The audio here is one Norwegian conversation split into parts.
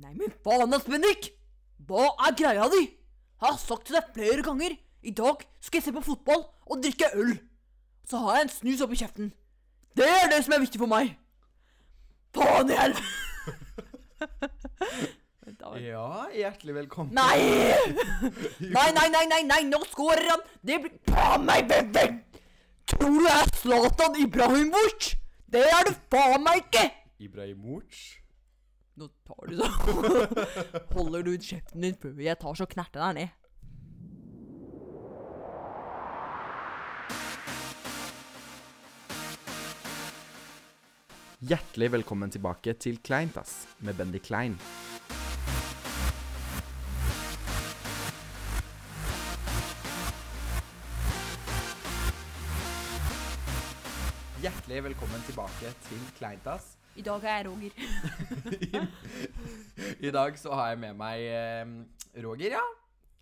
Nei, men faen ass, Bendik! Hva er greia di? Jeg har sagt til deg flere ganger. I dag skal jeg se på fotball og drikke øl. Så har jeg en snus oppi kjeften. Det er det som er viktig for meg. Faen i helvete! Vent da, vent. Ja, hjertelig velkommen. Nei! Nei, nei, nei, nei, nei, nå skårer han! Det blir Faen meg, Bendik! Tror du jeg er Zlatan Ibrahimovic? Det er du faen meg ikke! Ibrahimovic. Nå tar du så Holder du ut kjeften din før jeg tar så knerter deg ned. Hjertelig velkommen tilbake til Kleintass med Bendik Klein. Hjertelig velkommen tilbake til Kleintass. I dag er jeg Roger. I dag så har jeg med meg eh, Roger, ja.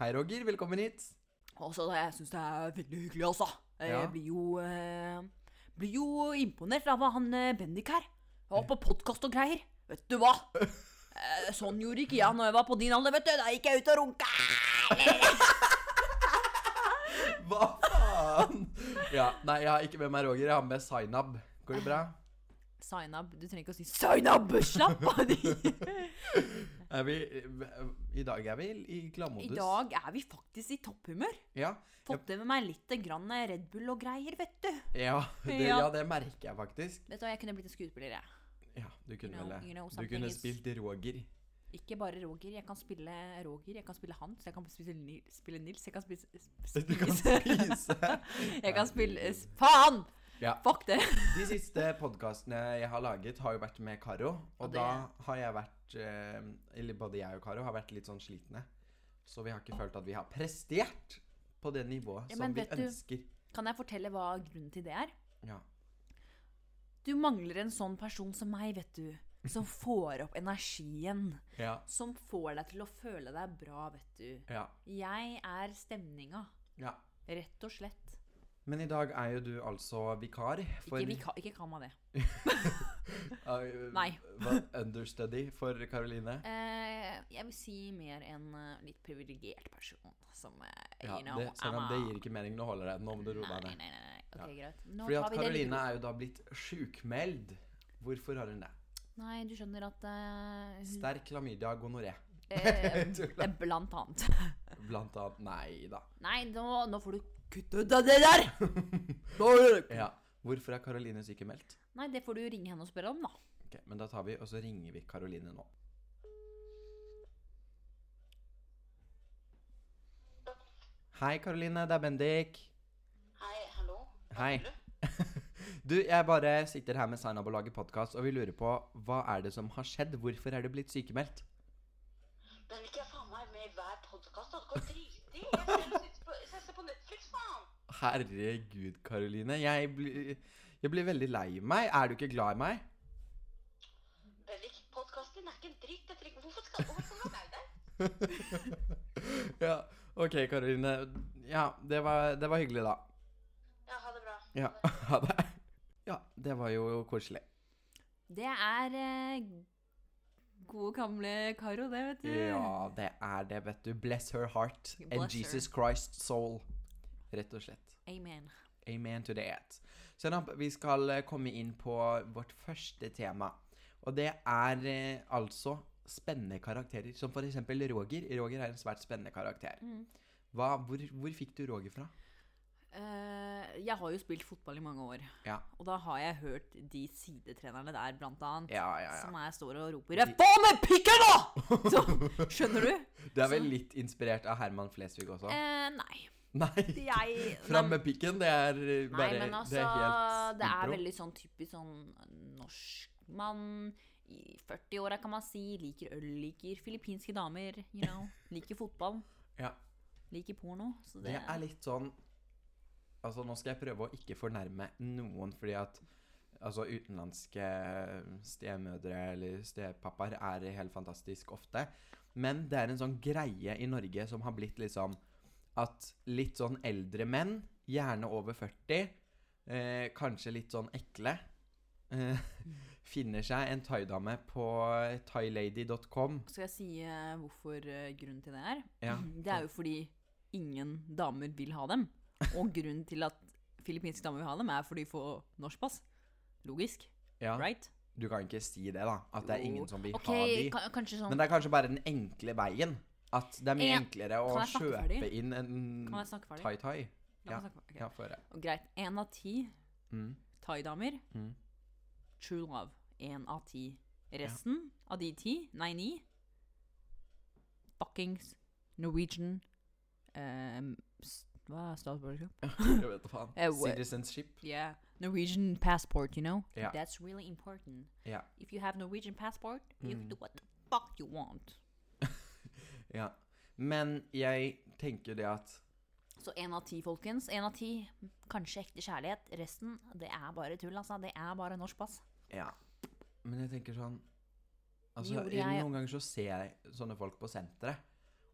Hei, Roger. Velkommen hit. Altså, jeg syns det er veldig hyggelig, altså. Jeg Ja. blir jo eh, Blir jo imponert av han eh, Bendik her. Jeg var på podkast og greier. Vet du hva? Eh, sånn gjorde ikke jeg når jeg var på din alder, vet du. Da gikk jeg ut og runka. Hva faen? Ja, nei, jeg har ikke med meg Roger. Jeg har med Zainab. Går det bra? Zainab. Du trenger ikke å si Zainab! Slapp av! I Er vi, eh, I dag er vi i gladmodus. dag er vi faktisk i topphumør. Ja, Fått i med meg litt grann Red Bull og greier, vet du. ja, det, Ja. ja, det merker jeg faktisk. Vet du hva, Jeg kunne blitt en skuespiller, jeg. Ja, du kunne You know- vel det. you know Du something kunne is- spilt Roger. Ikke bare Roger. Jeg kan spille Roger, jeg kan spille Hans, jeg kan spille, Ni- spille Nils, jeg kan spille Du kan spise. Jeg kan spille s- Faen! Ja. Fuck det! De siste podkastene jeg har laget, har jo vært med Karo. Og Og det- da har jeg vært eh, Eller både jeg og Karo har vært litt sånn slitne. Så vi har ikke følt at vi har prestert på det nivået Ja, som men vi vet du- ønsker. Kan jeg fortelle hva grunnen til det er? Ja. Du mangler en sånn person som meg, vet du. Som får opp energien. Ja. Som får deg til å føle deg bra, vet du. ja. Jeg er stemninga. ja. Rett og slett. Men i dag er jo du altså vikar for Ikke, vi kan, ikke kall meg det. uh, Nei. hva- understudy for Karoline. Eh, jeg vil si mer en eh, litt privilegert person som eh, Ja, you know, det, selv om I'm det a- gir ikke mening. Nå holder jeg. Nå må du roe Nei, deg nei, ned. nei. nei. Ok, greit. Nå Fordi tar at vi det litt Karoline er jo da blitt sjukmeld. Hvorfor har hun det? ro. Nei, du skjønner at eh, hun- Sterk klamydia gonoré. eh, Mm. Tulla. Blant annet. Blant annet Nei da. Nei, nå, nå får du kutte ut av det der! Nå er det- Ja. Hvorfor er Karoline sykemeldt? Nei, det får du ringe henne og spørre om, da. Ok, men da tar vi, og så ringer vi Karoline nå. Hei, Karoline. Det er Bendik. Hei, hallo. Hei. Du, jeg bare sitter her med Zainab og lager podkast, og vi lurer på hva er det som har skjedd? Hvorfor er du blitt sykemeldt? Den vil jeg faen meg med i hver podkast. Det går dritig. Jeg ser- sitter på- jeg ser på Netflix, faen. Herregud, Karoline. Jeg, blir- jeg blir veldig lei meg. Er du ikke glad i meg? Bendik, podkasten din er ikke en dritt. Jeg trenger, hvorfor skal hvorfor skal du være lei deg? Ja, OK, Karoline. Ja, det var, det var hyggelig, da. Ja, ha det bra. Ja, ha det. Ja, det var jo koselig. Det er eh, gode, gamle Karo, det, vet du. Ja, det er det, vet du. Bless her heart and Mm. Bless her. Jesus Christ's soul. Rett og slett. Amen. Amen to that. Senap, vi skal eh, komme inn på vårt første tema. Og det er eh, altså spennende karakterer, som for eksempel Roger. Roger er en svært spennende karakter. Mm. Hva, hvor, hvor fikk du Roger fra? Eh, jeg har jo spilt fotball i mange år. Ja, Og da har jeg hørt de sidetrenerne der, blant annet, ja, ja. som ja. jeg står og roper «Få med pikken nå!» Så, skjønner du? Du er vel litt inspirert av Herman Flesvig også? Eh, nei. Nei. Jeg Fram med pikken, det er eh, Nei, bare men altså, Det er helt det er impro. veldig sånn typisk sånn norsk mann i 40-åra, kan man si. Liker øl, liker filippinske damer, you know. Liker fotball, ja. liker porno. Så det, Det er litt sånn Altså, nå skal jeg prøve å ikke fornærme noen, fordi at altså, utenlandske stemødre eller stepappaer er helt fantastisk ofte. Men det er en sånn greie i Norge som har blitt liksom at litt sånn eldre menn, gjerne over 40, eh, kanskje litt sånn ekle, eh, finner seg en thaidame på thailady.com. Skal jeg si eh, hvorfor eh, grunnen til det er? Ja. Det er jo fordi ingen damer vil ha dem. Og grunnen til at filippinske damer vil ha dem, er fordi de får norsk pass. Logisk, ja. right? Du kan ikke si det, da. At det er Jo. ingen som vil Ok, ha de. ka- kanskje sånn Men det er kanskje bare den enkle veien. At det er mye En- enklere å Kan jeg snakke kjøpe ferdig? inn en Kan jeg snakke ferdig? thai-thai. La meg snakke ferdig. Ja, få høre. Og greit. Én av ti Mm. thaidamer. Mm. True love. Én av ti. Resten av de ti, nei, ni Fuckings Norwegian ehm, s- Hva er statsborgerskap? Jeg vet da faen. Eh, what? Citizenship. Yeah. Norwegian passport, you know? Ja. That's really important. Ja. If you have Norwegian passport, you Mm. can do what the fuck you want. ja. Men jeg tenker det at Så én av ti, folkens. Én av ti. Kanskje ekte kjærlighet. Resten, det er bare tull, altså. Det er bare norsk pass. Ja. Men jeg tenker sånn Altså, Gjorde jeg... jeg- Noen ganger så ser jeg sånne folk på senteret.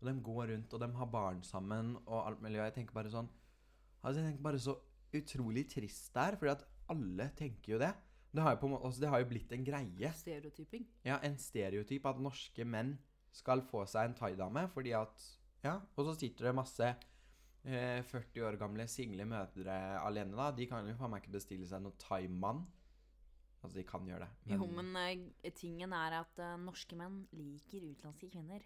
Og de går rundt, og de har barn sammen, og alt mulig. Og jeg tenker bare sånn Altså, jeg tenker bare så utrolig trist det er, fordi at alle tenker jo det. Det har jo, på en måte, altså, det har jo blitt en greie. Stereotyping. Ja, en stereotyp at norske menn skal få seg en thaidame fordi at Ja, og så sitter det masse eh, 40 år gamle single mødre alene, da. De kan jo faen meg ikke bestille seg noen thaimann. Altså, de kan gjøre det, Jo, men eh, tingen er at eh, norske menn liker utenlandske kvinner.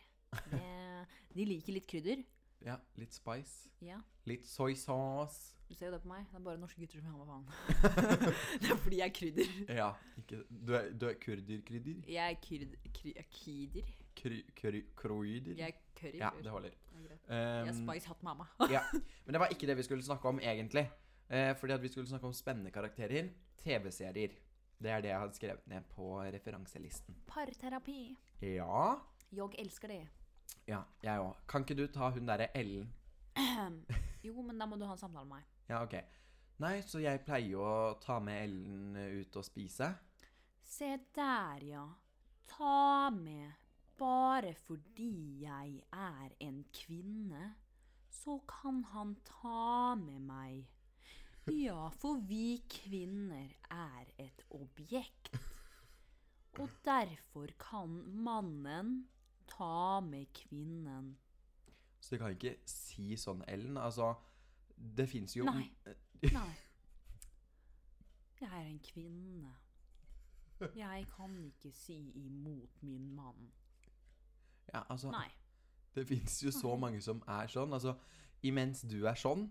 Det, de liker litt krydder. Ja, litt spice. Ja, Litt soy sauce. du ser jo det på meg. Det er bare norske gutter som vil ha meg faen. det er fordi jeg er krydder. Ja, ikke Du er, du er kurderkrydder? Jeg er kryd, kry, jeg er kider. Kry- kry- Kroider? Jeg er curry. Ja, det holder. Det er greit. Um, Jeg er spice hatt mamma. Men det var ikke det vi skulle snakke om, egentlig. Eh, fordi at vi skulle snakke om spennende karakterer. TV-serier. Det er det jeg hadde skrevet ned på referanselisten. Parterapi. Ja. Jeg elsker det. Ja, jeg òg. Kan ikke du ta hun derre Ellen? Jo, men da må du ha en samtale med meg. Ja, OK. Nei, så jeg pleier jo å ta med Ellen ut og spise. Se der, ja. Ta med. Bare fordi jeg er en kvinne, så kan han ta med meg. Ja, for vi kvinner er et objekt. Og derfor kan mannen ta med kvinnen. Så du kan ikke si sånn, Ellen. Altså, det fins jo Eh, Nei. Nei. Jeg er en kvinne. Jeg kan ikke si imot min mann. Ja, altså, Nei. Det fins jo så mange som er sånn. Altså, imens du er sånn,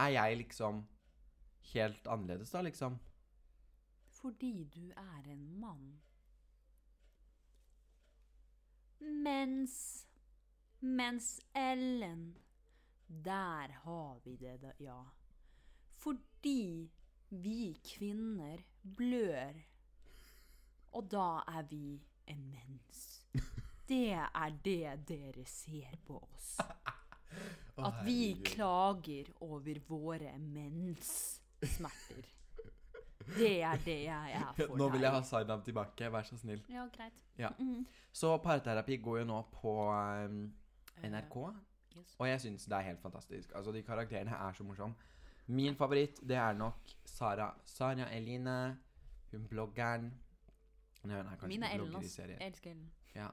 er jeg liksom helt annerledes, da, liksom. Fordi du er en mann. Mens Mens Ellen Der har vi det, da, ja. Fordi vi kvinner blør. Og da er vi en mens. Det er det dere ser på oss. Å, At vi herregud. klager over våre menssmerter. Det er det jeg er for Nå vil jeg ha deg. sign-up tilbake, vær så snill. Ja, greit. Ja. Mhm. Så parterapi går jo nå på ehm, NRK, Eh, yes. og jeg syns det er helt fantastisk. Altså, de karakterene er så morsomme. Min favoritt, det er nok Sara, Sara Eline, hun bloggeren. Nei, hun er kanskje Min er ikke Ellen, blogger i altså. serien. Jeg elsker Ellen. Ja.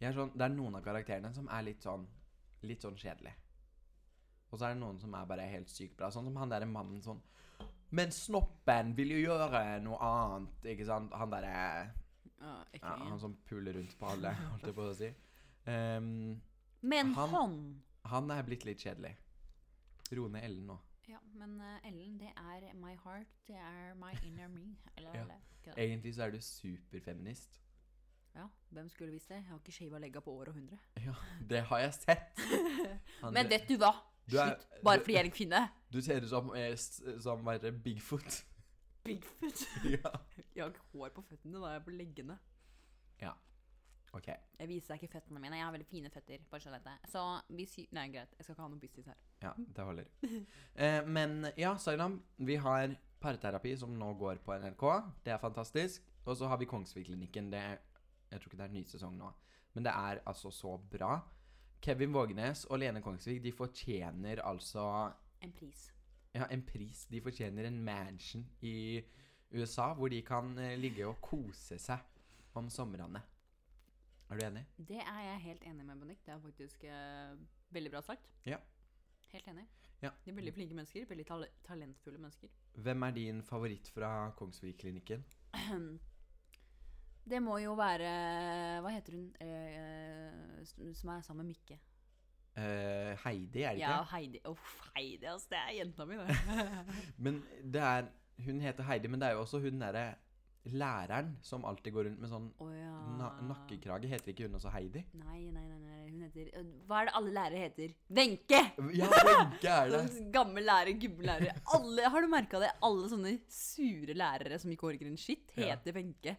Jeg er sånn, det er noen av karakterene som er litt sånn Litt sånn kjedelig. Og så er det noen som er bare helt sykt bra. Sånn som han derre mannen sånn Men snoppen vil jo gjøre noe annet, ikke sant? Han derre Ja, ikke ja, Han Ellen. som puler rundt på alle, holdt jeg på å si. Ehm, Men han- han, han er blitt litt kjedelig. Ro ned Ellen nå. Ja, men eh, Ellen, det er my heart, det er my inner me. Eller, Ja. eller. ikke det. Egentlig så er du superfeminist. ja, hvem skulle visst det? Jeg har ikke shava legga på år og hundre. Ja, det har jeg sett. Han- Men vet du hva? Du er- Slutt. Bare du- fordi jeg er en kvinne. Du ser ut som, eh, s- som hva heter det, Bigfoot. Bigfoot. ja. Jeg har ikke hår på føttene, da er jeg på leggene. OK. Jeg viser deg ikke føttene mine. Jeg har veldig fine føtter. bare skjønn dette. Så vi sy... Nei, greit. Jeg skal ikke ha noe business her. Ja, det holder. Eh, men ja, Sailam, vi har parterapi som nå går på NRK. Det er fantastisk. Og så har vi Kongsvikklinikken. Det, jeg tror ikke det er en ny sesong nå. Men det er altså så bra. Kevin Vågenes og Lene Kongsvik de fortjener altså En pris. ja, en pris. De fortjener en mansion i USA, hvor de kan eh, ligge og kose seg om somrene. Er du enig? Det er jeg helt enig med, Bendik. Det er faktisk eh, veldig bra sagt. Ja. Helt enig. Ja. De er veldig flinke mennesker. Veldig tal talentfulle mennesker. Hvem er din favoritt fra Kongsvigerklinikken? Det må jo være Hva heter hun eh, som som er sammen med Mikke? Eh, Heidi, er det Ja, ikke? Heidi. Uff, Heidi, ass. Det er jenta mi, det. Men det er, hun heter Heidi, men det er jo også hun derre læreren som alltid går rundt med sånn Å ja. na nakkekrage. Heter ikke hun også Heidi? Nei, nei, nei, nei. Hun heter øh, Hva er det alle lærere heter? Wenche! Ja, Wenche er det! Sånn Gammel lærer, gubbelærer. Alle, har du merka det? Alle sånne sure lærere som ikke orker en skitt, Ja. heter Wenche.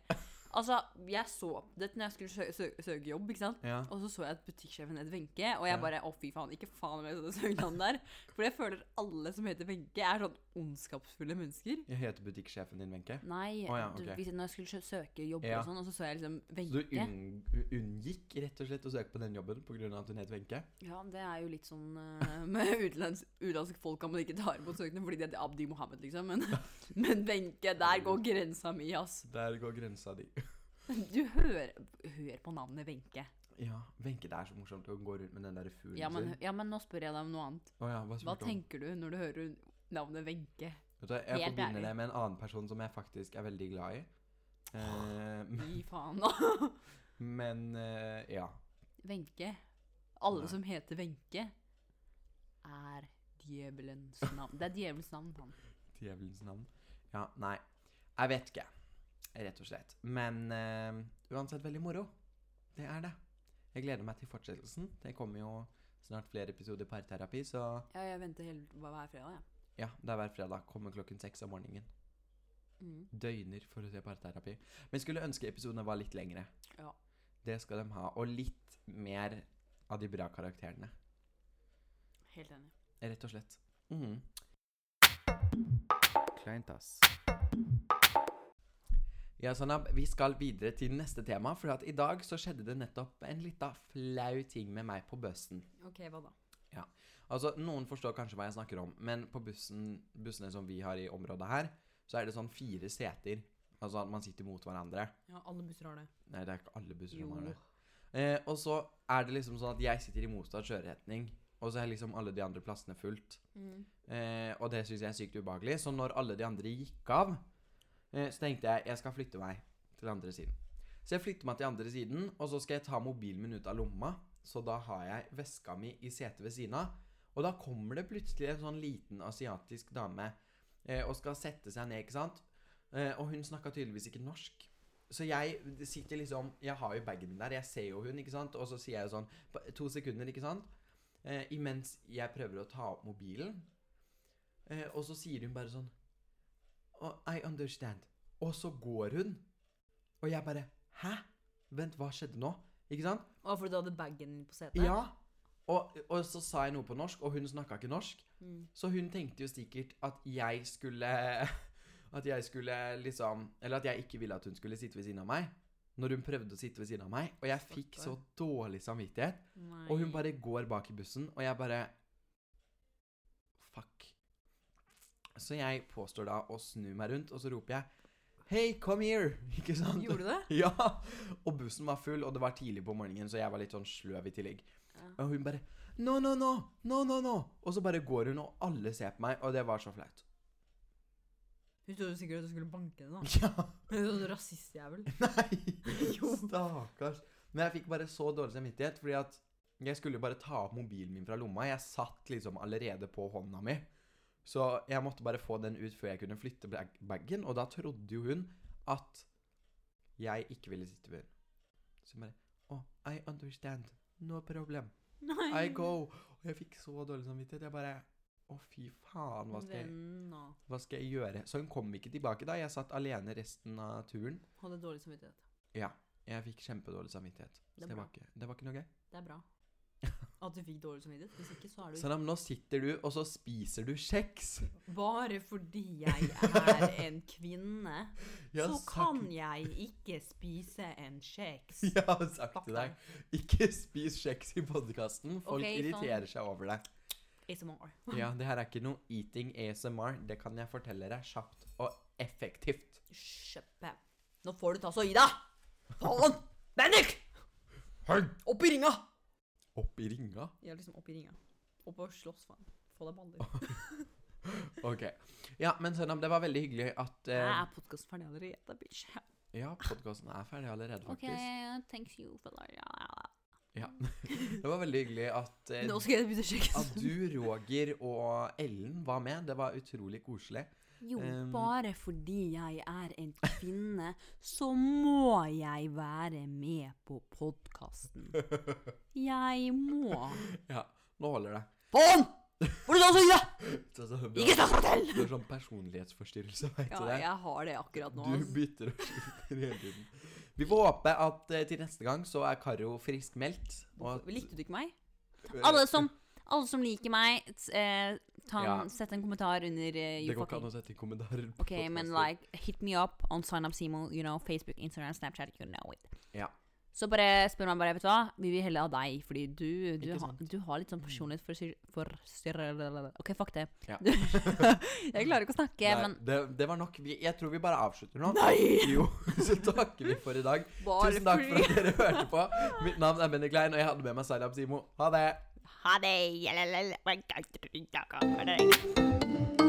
Altså, jeg så det når jeg skulle sø sø søke jobb, ikke sant. Ja. Og så så jeg at butikksjefen het Wenche, og jeg Ja. bare å fy faen, ikke faen om jeg skal søke navn der. For jeg føler alle som heter Wenche, er sånn ondskapsfulle mennesker. Jeg heter butikksjefen din, Wenche. Nei, Å ja, du, ok. hvis jeg, når jeg skulle sø- søke jobb Ja. og sånn, og så så jeg liksom Så du Wenche. unn, unngikk rett og slett å søke på den jobben pga. at hun het Wenche? Ja, det er jo litt sånn eh, Med utenlands- utenlandske folk kan man ikke ta imot søkende fordi de heter Abdi Mohammed, liksom. Men, men Wenche, der går grensa mi, ass. Der går grensa di. Du hører Hør på navnet Wenche. Ja, Wenche, det er så morsomt å gå rundt med den derre fuglen Ja, men, sin. ja, men nå spør jeg deg om noe annet. Å ja, hva Hva spurte du om? tenker du når du hører navnet Wenche? Vet du, hva, Helt jeg forbinder ærlig. det med en annen person som jeg faktisk er veldig glad i. Eh, m- Gi faen, da. men eh, ja. Wenche. Alle Nei. som heter Wenche, er djevelens navn. Det er djevelens navn, han. Djevelens navn. Ja, nei. Jeg vet ikke, rett og slett. Men eh, uansett veldig moro. Det er det. Jeg gleder meg til fortsettelsen. Det kommer jo snart flere episoder parterapi, så Ja, jeg venter hele, hver fredag, jeg. ja, det er hver fredag. Kommer klokken seks om morgenen. Mm. Døgner for å se parterapi. Men jeg skulle ønske episodene var litt lengre. Ja. Det skal de ha. Og litt mer av de bra karakterene. Helt enig. Rett og slett. Mhm. Kleint, ass. Ja, Sanab, vi skal videre til neste tema, for at i dag så skjedde det nettopp en lita flau ting med meg på bussen. OK, hva da? Altså, Noen forstår kanskje hva jeg snakker om, men på bussen, bussene som vi har i området her, så er det sånn fire seter. Altså at man sitter mot hverandre. Ja, alle busser har det. Nei, det er ikke alle busser som Jo. har det. Eh, og så er det liksom sånn at jeg sitter i motsatt kjøreretning, og så er liksom alle de andre plassene fullt. Mm. Eh, og det syns jeg er sykt ubehagelig. Så når alle de andre gikk av, eh, så tenkte jeg jeg skal flytte meg til andre siden. Så jeg flytter meg til andre siden, og så skal jeg ta mobilen min ut av lomma. Så da har jeg veska mi i setet ved siden av. Og da kommer det plutselig en sånn liten asiatisk dame eh, og skal sette seg ned, ikke sant. Eh, og hun snakka tydeligvis ikke norsk. Så jeg sitter liksom Jeg har jo bagen min der, jeg ser jo hun, ikke sant. Og så sier jeg sånn på To sekunder, ikke sant. Eh, imens jeg prøver å ta opp mobilen. Eh, og så sier hun bare sånn «Oh, I understand. Og så går hun. Og jeg bare Hæ? Vent, hva skjedde nå? Ikke sant? Å, fordi du hadde bagen din på setet? Ja. Og, og så sa jeg noe på norsk, og hun snakka ikke norsk. Mm. Så hun tenkte jo sikkert at jeg skulle At jeg skulle liksom Eller at jeg ikke ville at hun skulle sitte ved siden av meg. Når hun prøvde å sitte ved siden av meg. Og jeg fikk så dårlig samvittighet. Nei. Og hun bare går bak i bussen, og jeg bare Fuck. Så jeg påstår da å snu meg rundt, og så roper jeg Hei, come here! Ikke sant? Gjorde du det? Ja! Og bussen var full, og det var tidlig på morgenen, så jeg var litt sånn sløv i tillegg. Ja. Og hun bare No, no, no! No, no, no! Og så bare går hun, og alle ser på meg, og det var så flaut. Hun trodde sikkert at du skulle banke henne. da. Ja, Hun er sånn rasistjævel. nei! Jo. Stakkars. Men jeg fikk bare så dårlig samvittighet, fordi at jeg skulle jo bare ta opp mobilen min fra lomma. Jeg satt liksom allerede på hånda mi. Så jeg måtte bare få den ut før jeg kunne flytte bag- bagen, og da trodde jo hun at jeg ikke ville sitte ved. Så jeg bare Oh, I understand. No problem. I go. Og jeg fikk så dårlig samvittighet. Jeg bare Å, fy faen, hva skal, jeg, Venn da. hva skal jeg gjøre? Så hun kom ikke tilbake da. Jeg satt alene resten av turen. Hadde dårlig samvittighet. Jeg fikk kjempedårlig samvittighet. Det er Så det bra. var ikke, det var ikke noe gøy. Det er bra. At du fikk dårlig samvittighet. Hvis ikke, så er du Sanam, nå sitter du, og så spiser du kjeks. Bare fordi jeg er en kvinne, Jeg har så kan sagt- jeg ikke spise en kjeks. Jeg har sagt Fuck til deg. deg, ikke spis kjeks i podkasten. Folk Ok, sånn. irriterer seg over deg. ASMR. Ja, det her er ikke noe eating ASMR. Det kan jeg fortelle deg kjapt og effektivt. Kjøpe. Nå får du ta så i deg! Faen! Bendik! Hei! Opp i ringa! Opp i ringa? Ja, liksom opp i ringa. Opp og slåss, faen. Få deg baller. Ok. Ja, men Sønnam, det var veldig hyggelig at Jeg eh, er podkasten ferdig allerede, bitch. Ja, podkasten er ferdig allerede, OK, faktisk. thanks you for that. Ja. Det var veldig hyggelig at eh, Nå skal jeg begynne å sjekke. At du, Roger og Ellen var med, det var utrolig koselig. Jo, Ehm. bare fordi jeg er en kvinne, så må jeg være med på podkasten. Jeg må. Ja, nå holder det. Faen! Får du ta så i deg? Så- så- du Ikke har- snakk meg til! Du har sånn personlighetsforstyrrelse, vet Ja, du det? jeg har det akkurat nå. Du ass. bytter og skifter hele tiden. Vi får håpe at eh, til neste gang så er Karo friskmeldt. og at- Likte du ikke meg? Alle som, alle som liker meg, t- eh, ta en, Ja. sett en kommentar under eh, you Det går ikke an fucking å sette i kommentarer. på Ok, men podcaster. like, hit me up on sign up Simo, you know, Facebook, Instagram, Snapchat, you know it. Ja. Så bare spør meg bare, vet du hva, vi vil heller ha deg, fordi du, du, Ikke har- sant? Mm. du har litt sånn personlighet for, for Ok, fuck det. Ja. jeg klarer ikke å snakke, Nei, men det, det var nok. Vi, jeg tror vi bare avslutter nå. Nei! Jo, så takker vi for i dag. bare Tusen takk for fordi- at dere hørte på. Mitt navn er Benny Klein, og jeg hadde med meg Sailab Simo. Ha det! Ha det!